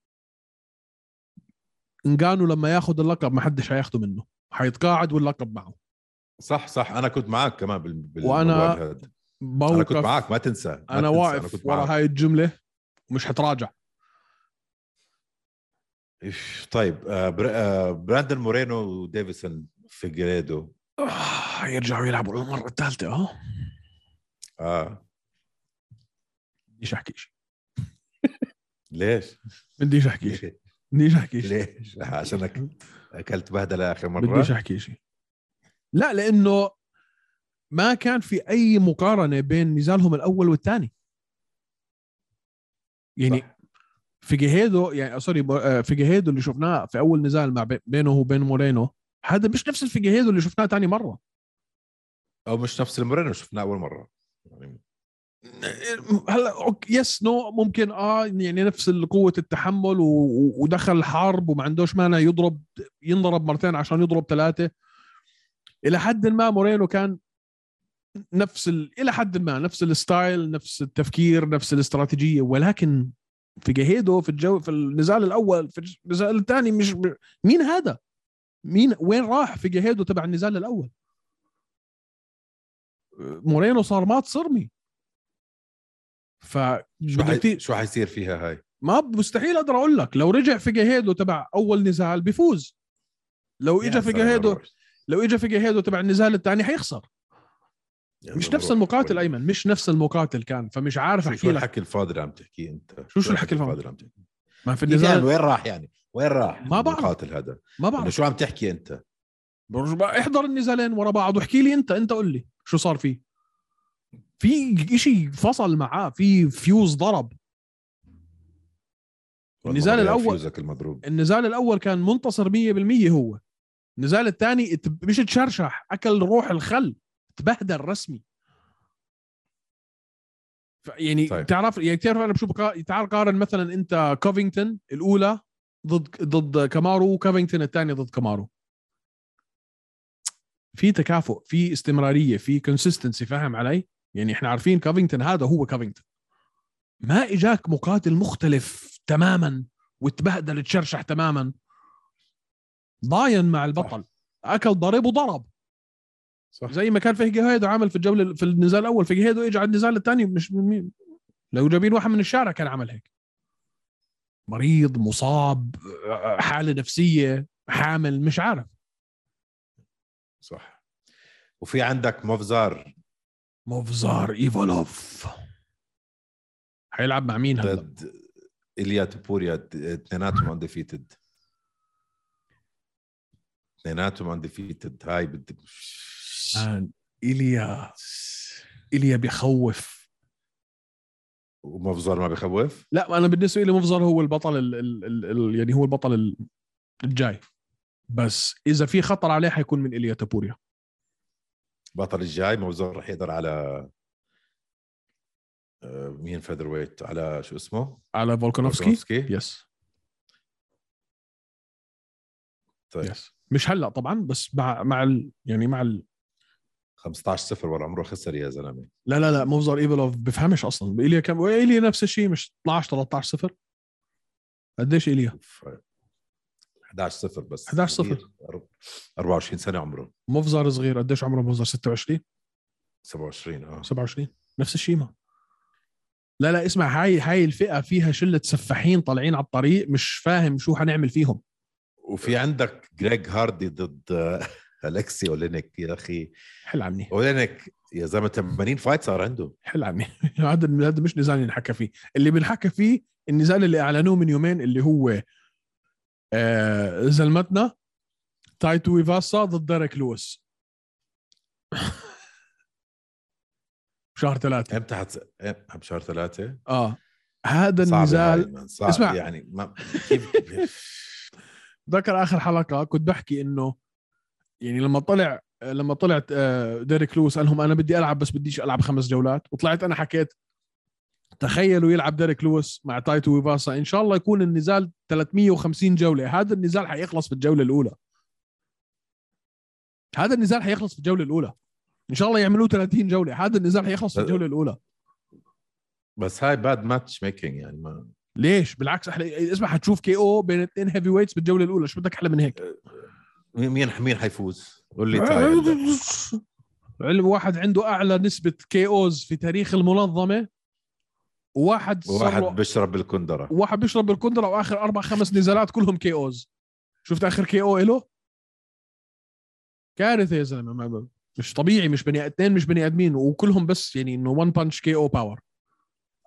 انجانو لما ياخذ اللقب ما حدش حياخده منه حيتقاعد واللقب معه
صح صح انا كنت معك كمان بال... بالموضوع
وأنا
هاد. انا كنت
بوقف
معك ما تنسى ما تنسى.
انا واقف
كنت
ورا
معك.
هاي الجمله ومش حتراجع
إيش، طيب آه، بر... آه، براندن مورينو وديفيسون في جريدو
آه، يرجعوا يلعبوا المره الثالثه اه
اه
بديش احكي شيء
ليش؟
بديش احكي شيء بديش احكي شيء
ليش؟ عشانك اكلت بهدله اخر مره
بديش احكي شيء لا لانه ما كان في اي مقارنه بين نزالهم الاول والثاني يعني
صح.
في جهيدو يعني آه، سوري مو- آه، في جهيدو اللي شفناه في اول نزال مع بي- بينه وبين مورينو هذا مش نفس الفيجيهيدو اللي شفناه تاني مره
او مش نفس المورينو شفناه اول مره يعني
هلا أوك- يس نو ممكن اه يعني نفس قوه التحمل و... و- ودخل الحرب وما عندوش مانع يضرب ينضرب مرتين عشان يضرب ثلاثه الى حد ما مورينو كان نفس ال... الى حد ما نفس الستايل نفس التفكير نفس الاستراتيجيه ولكن في جهيدو في الجو في النزال الاول في النزال الثاني مش مين هذا؟ مين وين راح في جهيدو تبع النزال الاول؟ مورينو صار مات صرمي ف
شو
بدك
حي...
تي-
شو حيصير فيها هاي؟
ما مستحيل اقدر اقول لك لو رجع في جهيدو تبع اول نزال بيفوز لو اجى
يا
في
سلام
جهيدو
مبروك.
لو اجى في جهيدو تبع النزال الثاني حيخسر
يا
مش
مبروك.
نفس المقاتل ايمن مش نفس المقاتل كان فمش عارف
يعني شو- شو
احكي لك
الحكي الفاضي اللي عم تحكيه انت؟
شو الحكي الفاضي؟
اللي عم تحكيه؟
ما في
إيدان،
النزال
وين راح يعني؟ وين راح؟
ما بعرف.
القاتل هذا
ما
إنه
بعرف
شو عم تحكي انت؟
برج- بقى احضر النزالين ورا بعض واحكي لي انت انت قول لي شو صار فيه في شيء فصل معاه في فيوز ضرب النزال
والله يا
الأول.
فيوزك المضروب
النزال الاول كان منتصر 100% هو النزال الثاني ات- مش تشرشح اكل روح الخل تبهدل رسمي ف- يعني
طيب.
طيب. تعرف يعني تعرف انا بشوف قا- تعال قارن مثلا انت كوفينغتون الاولى ضد ضد كامارو وكوفينغتون الثاني ضد كامارو في تكافؤ في استمراريه في كونسيستنسي فاهم علي يعني احنا عارفين كوفينغتون هذا هو كوفينغتون ما اجاك مقاتل مختلف تماما وتبهدل تشرشح تماما ضاين مع البطل اكل ضرب وضرب
صح
زي ما كان فهجي هيدو عامل في الجوله في النزال الاول فهجي هيدو اجى على النزال الثاني مش من مين لو جايبين واحد من الشارع كان عمل هيك مريض مصاب حاله نفسيه حامل مش عارف
صح وفي عندك مفزار
مفزار ايفولوف حيلعب مع مين هلا
ضد اليا تبوريا اثنيناتهم انديفيتد اثنيناتهم انديفيتد هاي بدي
مان، ايليا ايليا بيخوف
ومفزار ما بخوف
لا انا بالنسبه لي مفزر هو البطل ال ال ال ال يعني هو البطل ال- الجاي بس اذا في خطر عليه حيكون من اليا تابوريا
البطل الجاي مفزار رح يقدر على آه، مين فيذر ويت على شو اسمه؟
على فولكانوفسكي
فولكانوفسكي
يس
طيب
يس مش هلا طبعا بس مع مع ال يعني مع ال
15 صفر ولا عمره خسر يا زلمه
لا لا لا مفزر ايفلوف بفهمش اصلا اليا كم اليا نفس الشيء مش 12 13 صفر قديش اليا
ف- 11 صفر بس
11 صفر.
صغير. أر- 24 سنه عمره
مفزر صغير قديش عمره مفزر 26
27 اه
27 نفس الشيء ما لا لا اسمع هاي هاي الفئه فيها شله سفاحين طالعين على الطريق مش فاهم شو حنعمل فيهم
وفي عندك جريج هاردي ضد آه، الكسي اولينيك يا اخي
حل عني
اولينيك يا زلمه 80 فايت صار عنده
حل عني هذا هذا مش نزال ينحكى فيه اللي بنحكى فيه النزال اللي اعلنوه من يومين اللي هو آه زلمتنا تايتو ايفاسا ضد ديريك لويس شهر ثلاثة
امتى حتس... إم- بشهر ثلاثه
اه هذا
صعب
النزال
هاي، man. صعب
اسمع.
اسمع. يعني ما كيف كيف-
ذكر اخر حلقه كنت بحكي انه يعني لما طلع لما طلعت آه، ديريك لويس قال لهم انا بدي العب بس بديش العب خمس جولات وطلعت انا حكيت تخيلوا يلعب ديريك لويس مع تايتو ويفاسا ان شاء الله يكون النزال 350 جوله هذا النزال حيخلص في الجوله الاولى هذا النزال حيخلص في الجوله الاولى ان شاء الله يعملوه 30 جوله هذا النزال حيخلص في الجوله الاولى
بس هاي باد ماتش ميكينج يعني ما
ليش بالعكس احلى اسمع حتشوف كي او بين اثنين هيفي ويتس بالجوله الاولى شو بدك احلى من هيك
مين مين مين حيفوز قول لي تعال
آه، علم واحد عنده اعلى نسبه كي اوز في تاريخ المنظمه وواحد
واحد
صار له-
بيشرب بالكندره
واحد بيشرب بالكندره واخر اربع خمس نزالات كلهم كي اوز شفت اخر كي او اله كارثه يا زلمه ما- ما- مش طبيعي مش بني اثنين مش بني ادمين وكلهم بس يعني انه وان بانش كي او باور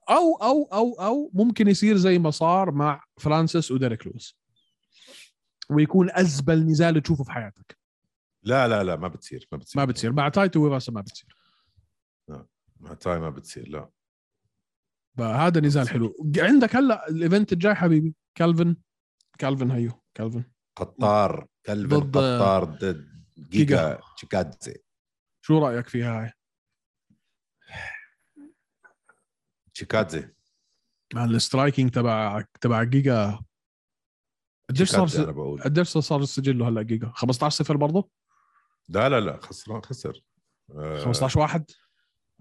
او او او او ممكن يصير زي ما صار مع فرانسيس وديريك لويس ويكون ازبل نزال تشوفه في حياتك
لا لا لا ما بتصير ما بتصير
ما بتصير مع تايتو ويفاسا ما بتصير
مع تاي ما بتصير لا
فهذا نزال حلو عندك هلا الايفنت الجاي حبيبي كالفن كالفن هيو كالفن
قطار كلب
ضد-
قطار ضد جيجا
جيجا.
تشيكادزي
شو رايك فيها هاي؟
تشيكادزي
مع السترايكينج تبع تبع جيجا قديش صار
تشيكادزي انا
س-
بقول
قديش صار سجله هلا جيجا 15 صفر برضه
لا لا لا خسران خسر آه،
15 واحد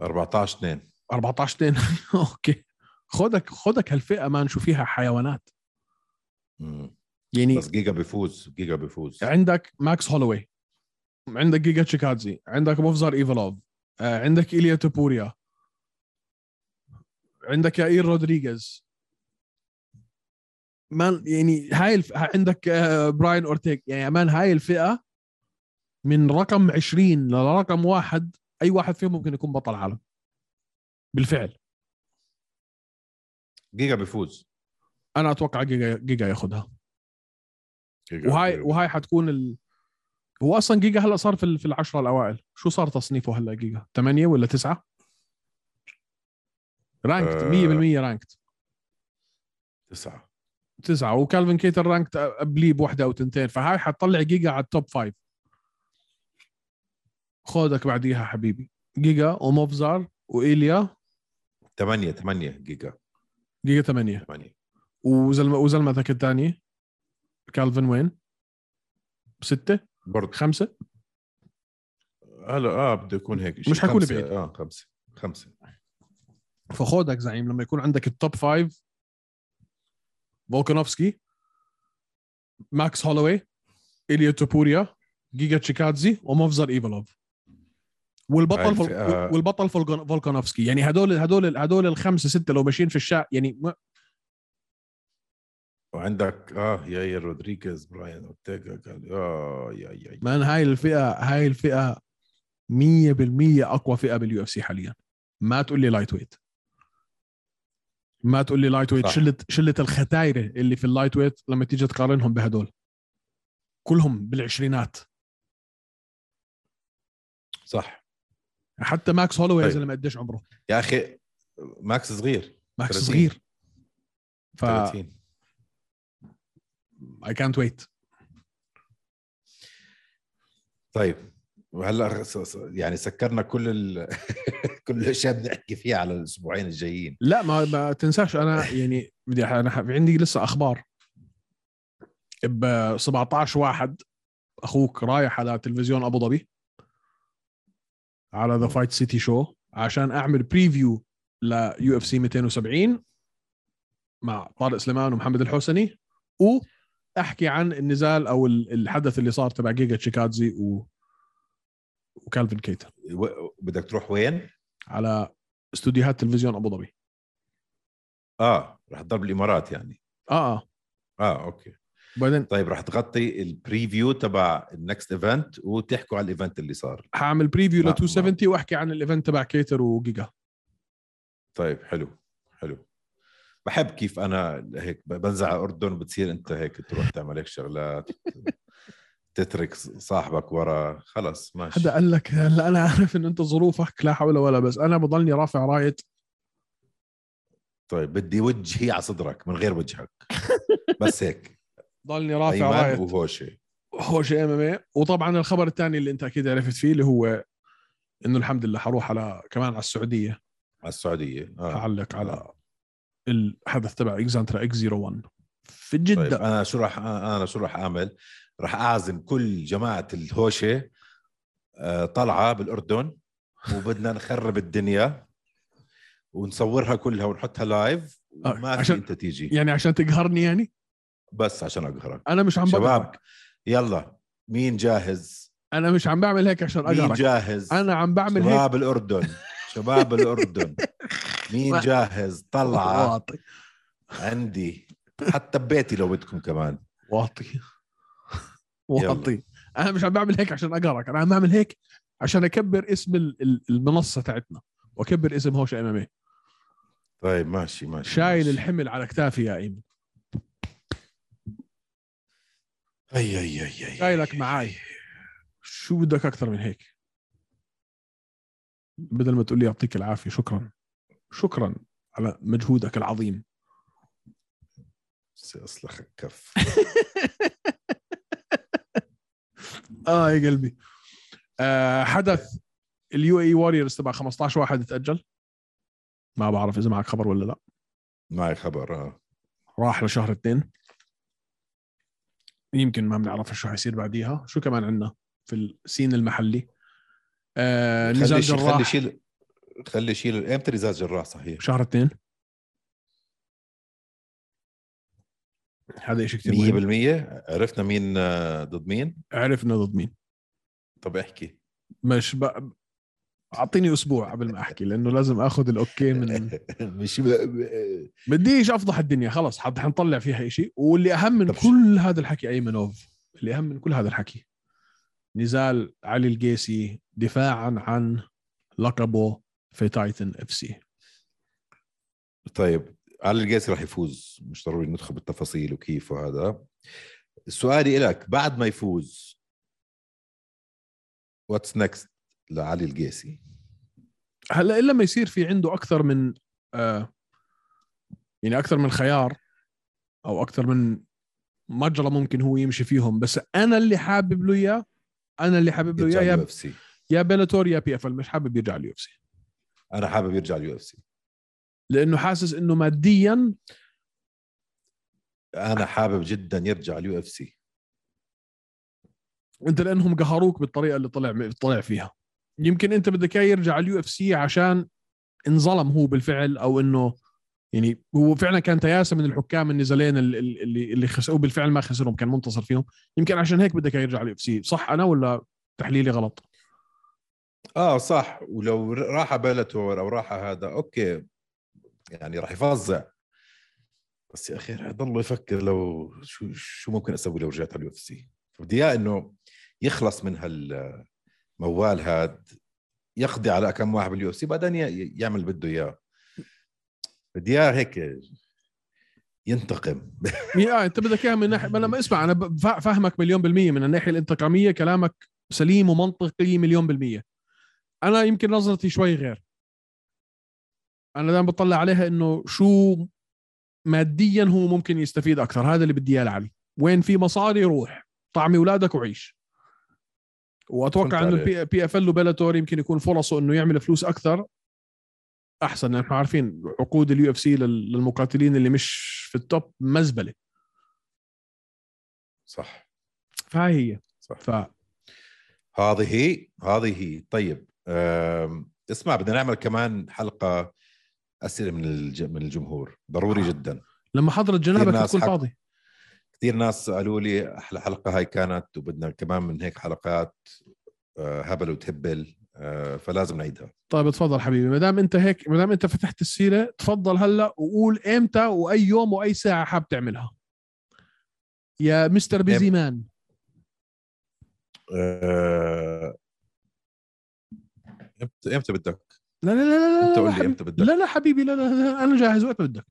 14 2
14 2 اوكي خدك خدك هالفئه مان شو فيها حيوانات
مم.
يعني
بس جيجا بيفوز جيجا بيفوز
عندك ماكس هولوي عندك جيجا تشيكادزي عندك مفزر ايفلوف آه، عندك ايليا توبوريا عندك يائير رودريغيز مان يعني هاي الف... ها- عندك آه، براين اورتيغ يعني مان هاي الفئه من رقم 20 لرقم واحد اي واحد فيهم ممكن يكون بطل عالم بالفعل
جيجا بيفوز
انا اتوقع جيجا جيجا ياخذها
جيجا
وهاي
بيفوز.
وهاي حتكون ال... هو اصلا جيجا هلا صار في ال- في العشره الاوائل شو صار تصنيفه هلا جيجا 8 ولا 9 رانكت
آه.
100% رانكت
تسعة
9 وكالفن كيتر رانكت قبليه بوحده او تنتين فهاي حتطلع جيجا على التوب 5 خودك بعديها حبيبي جيجا وموفزار وايليا
8 8 جيجا
جيجا 8
8
وزلمه وزلمتك الثانيه كالفن وين؟ 6
برضه
5
هلا اه بده يكون هيك شيء.
مش حيكون
خمسة.
بعيد.
اه خمسة خمسة
فخودك زعيم لما يكون عندك التوب فايف فولكانوفسكي ماكس هولوي إيليا توبوريا جيجا تشيكادزي ومفزر ايفلوف والبطل فول...
الفئة-
والبطل فولكان- فولكانوفسكي يعني هدول هدول هدول الخمسه سته لو ماشيين في الشارع يعني ما-
وعندك اه ياير رودريغيز براين اورتيغا قال اه يا يا
مان هاي الفئه هاي الفئه 100% اقوى فئه باليو اف سي حاليا ما تقول لي لايت ويت ما تقول لي لايت ويت
صح.
شله شله الختايره اللي في اللايت ويت لما تيجي تقارنهم بهدول كلهم بالعشرينات
صح
حتى ماكس هولوي يا
طيب.
زلمه قديش عمره
يا اخي ماكس صغير
ماكس
30.
صغير ف
30
اي كانت ويت
طيب وهلا س- س- يعني سكرنا كل ال... كل الاشياء بنحكي فيها على الاسبوعين الجايين
لا ما, ما تنساش انا يعني بدي انا ح- عندي لسه اخبار ب 17 واحد اخوك رايح على تلفزيون ابو ظبي على ذا فايت سيتي شو عشان اعمل بريفيو ليو اف سي 270 مع طارق سليمان ومحمد الحسني واحكي عن النزال او ال- الحدث اللي صار تبع جيجا تشيكادزي و وكالفن كيتر
و... بدك تروح وين؟
على استوديوهات تلفزيون ابو ظبي
اه رح تضل بالامارات يعني
اه اه
اه اوكي
وبعدين
طيب رح تغطي البريفيو تبع النكست ايفنت وتحكوا على الايفنت اللي صار
هعمل بريفيو ل
لا،
270 واحكي عن الايفنت تبع كيتر وجيجا
طيب حلو حلو بحب كيف انا هيك ب- بنزع على الاردن وبتصير انت هيك تروح تعمل هيك شغلات تترك صاحبك ورا خلص ماشي
حدا قال لك هلا انا عارف ان انت ظروفك لا حول ولا بس انا بضلني رافع رايه
طيب بدي وجهي على صدرك من غير وجهك بس هيك
ضلني رافع
ايمن
رايه
وهوشه
هو شيء ام وطبعا إيه؟ الخبر الثاني اللي انت اكيد عرفت فيه اللي هو انه الحمد لله حروح على كمان على السعوديه
على السعوديه اه
حعلق على الحدث تبع اكزانترا اكس 01 في جده
طيب انا شو راح انا شو راح اعمل؟ راح اعزم كل جماعه الهوشه آه، طلعه بالاردن وبدنا نخرب الدنيا ونصورها كلها ونحطها لايف
آه،
ما في
عشان-
انت تيجي
يعني عشان تقهرني يعني
بس عشان اقهرك
انا مش عم بقهرك
شباب يلا مين جاهز
انا مش عم بعمل هيك عشان
مين
اقهرك
جاهز
انا عم بعمل هيك
شباب الاردن شباب الاردن مين جاهز طلعه
واطي
عندي حتى ببيتي لو بدكم كمان
واطي واطي انا مش عم بعمل هيك عشان اقهرك انا عم بعمل هيك عشان اكبر اسم ال- ال- المنصه تاعتنا واكبر اسم هوش ام ام
طيب ماشي ماشي
شايل
ماشي.
الحمل على كتافي يا ايمن
اي اي اي اي
شايلك معاي شو بدك اكثر من هيك بدل ما تقول لي يعطيك العافيه شكرا شكرا على مجهودك العظيم
بس اصلخك كف
اه يا قلبي آه حدث اليو اي واريورز تبع 15 واحد تاجل ما بعرف اذا معك خبر ولا لا
معي خبر اه
راح لشهر اثنين يمكن ما بنعرف شو حيصير بعديها شو كمان عندنا في السين المحلي آه نزال
خلي شيل خلي
جراح
شيل خلي شيل امتى نزال جراح صحيح
شهر اثنين هذا شيء كثير مهم
100% عرفنا مين آه، ضد مين
عرفنا ضد مين
طب احكي
مش ب... اعطيني اسبوع قبل ما احكي لانه لازم اخذ الاوكي من
مش ب-
بديش افضح الدنيا خلص حد حنطلع فيها شيء واللي اهم من
طب شو-
كل هذا الحكي ايمنوف اللي اهم من كل هذا الحكي نزال علي القيسي دفاعا عن لقبه في تايتن اف سي
طيب علي القيسي راح يفوز مش ضروري ندخل بالتفاصيل وكيف وهذا سؤالي لك بعد ما يفوز واتس نكست لعلي القيسي
هلا الا ما يصير في عنده اكثر من آه يعني اكثر من خيار او اكثر من مجرى ممكن هو يمشي فيهم بس انا اللي حابب له اياه انا اللي حابب له
يرجع
اياه
اليو
يا-
اف سي
يا بيلاتور يا بي اف مش حابب يرجع اليو اف سي
انا حابب يرجع اليو اف سي
لانه حاسس انه ماديا
انا حابب جدا يرجع اليو اف سي
انت لانهم قهروك بالطريقه اللي طلع طلع فيها يمكن انت بدك اياه يرجع اليو اف سي عشان انظلم هو بالفعل او انه يعني هو فعلا كان تياسه من الحكام النزالين ال- ال- اللي اللي خسروا بالفعل ما خسرهم كان منتصر فيهم يمكن عشان هيك بدك اياه يرجع اليو اف سي صح انا ولا تحليلي غلط
اه صح ولو ر- راح على بلاتور او راح على هذا اوكي يعني راح يفظع بس يا اخي رح يضل يفكر لو شو شو ممكن اسوي لو رجعت على اليو اف سي بدي اياه انه يخلص من هالموال هاد يقضي على كم واحد باليو اف سي بعدين ي- يعمل اللي بده اياه بدي اياه هيك ينتقم
يعني آه انت بدك اياه من ناحيه ما لما اسمع انا ب- فا- فاهمك مليون بالميه من الناحيه الانتقاميه كلامك سليم ومنطقي مليون بالميه انا يمكن نظرتي شوي غير انا دائما بطلع عليها انه شو ماديا هو ممكن يستفيد اكثر هذا اللي بدي اياه لعلي وين في مصاري روح طعمي اولادك وعيش واتوقع
فهمت
انه
عليك.
البي بي اف ال وبلاتور يمكن يكون فرصه انه يعمل فلوس اكثر احسن لان احنا عارفين عقود اليو اف سي للمقاتلين اللي مش في التوب مزبله
صح
فهاي هي
صح
ف
هذه هي هذه هي طيب أم، اسمع بدنا نعمل كمان حلقه اسئله من الج... من الجمهور
آه.
ضروري جدا
لما حضرت
كثير
جنابك
ناس
تكون
حك-
فاضي
كثير ناس قالوا لي احلى حلقه هاي كانت وبدنا كمان من هيك حلقات أه، هبل وتهبل أه، فلازم نعيدها
طيب تفضل حبيبي ما دام انت هيك ما دام انت فتحت السيره تفضل هلا وقول امتى واي يوم واي ساعه حاب تعملها يا مستر بيزي مان
أه، امتى امتى بدك
لا لا لا لا
انت
لا
قول
لا حبيبي.
لي امتى بدك
لا لا حبيبي لا لا, لا انا جاهز وقت ما بدك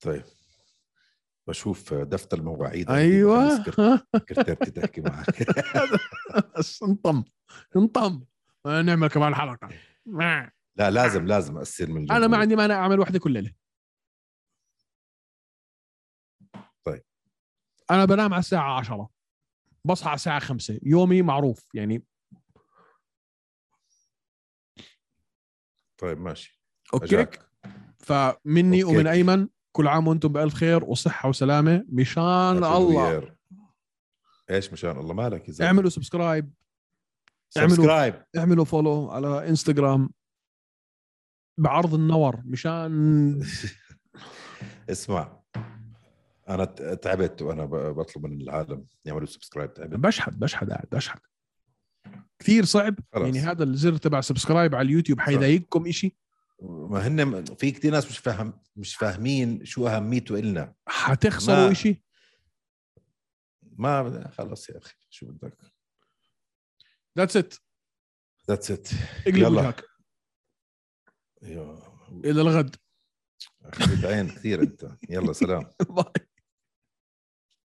طيب بشوف دفتر المواعيد عندي،
ايوه
بخلي سكرت-
ها،
سكرتيرتي تحكي معك
بس انطم انطم نعمل كمان حلقه مع.
لا لازم لازم اسئله من الجمهور
انا ما عندي مانع اعمل واحده كل ليله
طيب.
انا بنام على الساعه 10 بصحى على الساعه 5 يومي معروف يعني
طيب ماشي
اوكي
أجاك.
فمني
أوكي.
ومن ايمن كل عام وانتم بالف خير وصحه وسلامه مشان
هابي نيو
الله
يير. ايش مشان الله مالك يا زلمه
اعملوا سبسكرايب اعملوا-
سبسكرايب
اعملوا فولو على انستغرام بعرض النور مشان
اسمع انا ت- تعبت وانا ب- بطلب من العالم يعملوا سبسكرايب تعبت
بشحد بشحد قاعد بشحد كثير صعب
خلاص.
يعني هذا الزر تبع سبسكرايب على اليوتيوب حيضايقكم شيء
ما هن في كثير ناس مش فاهم مش فاهمين شو اهميته النا
حتخسروا
ما-
شيء
ما خلص يا اخي شو بدك
ذاتس ات
ذاتس ات
اقلب
يلا.
وجهك الى الغد
اخي بتعين كثير انت يلا سلام
باي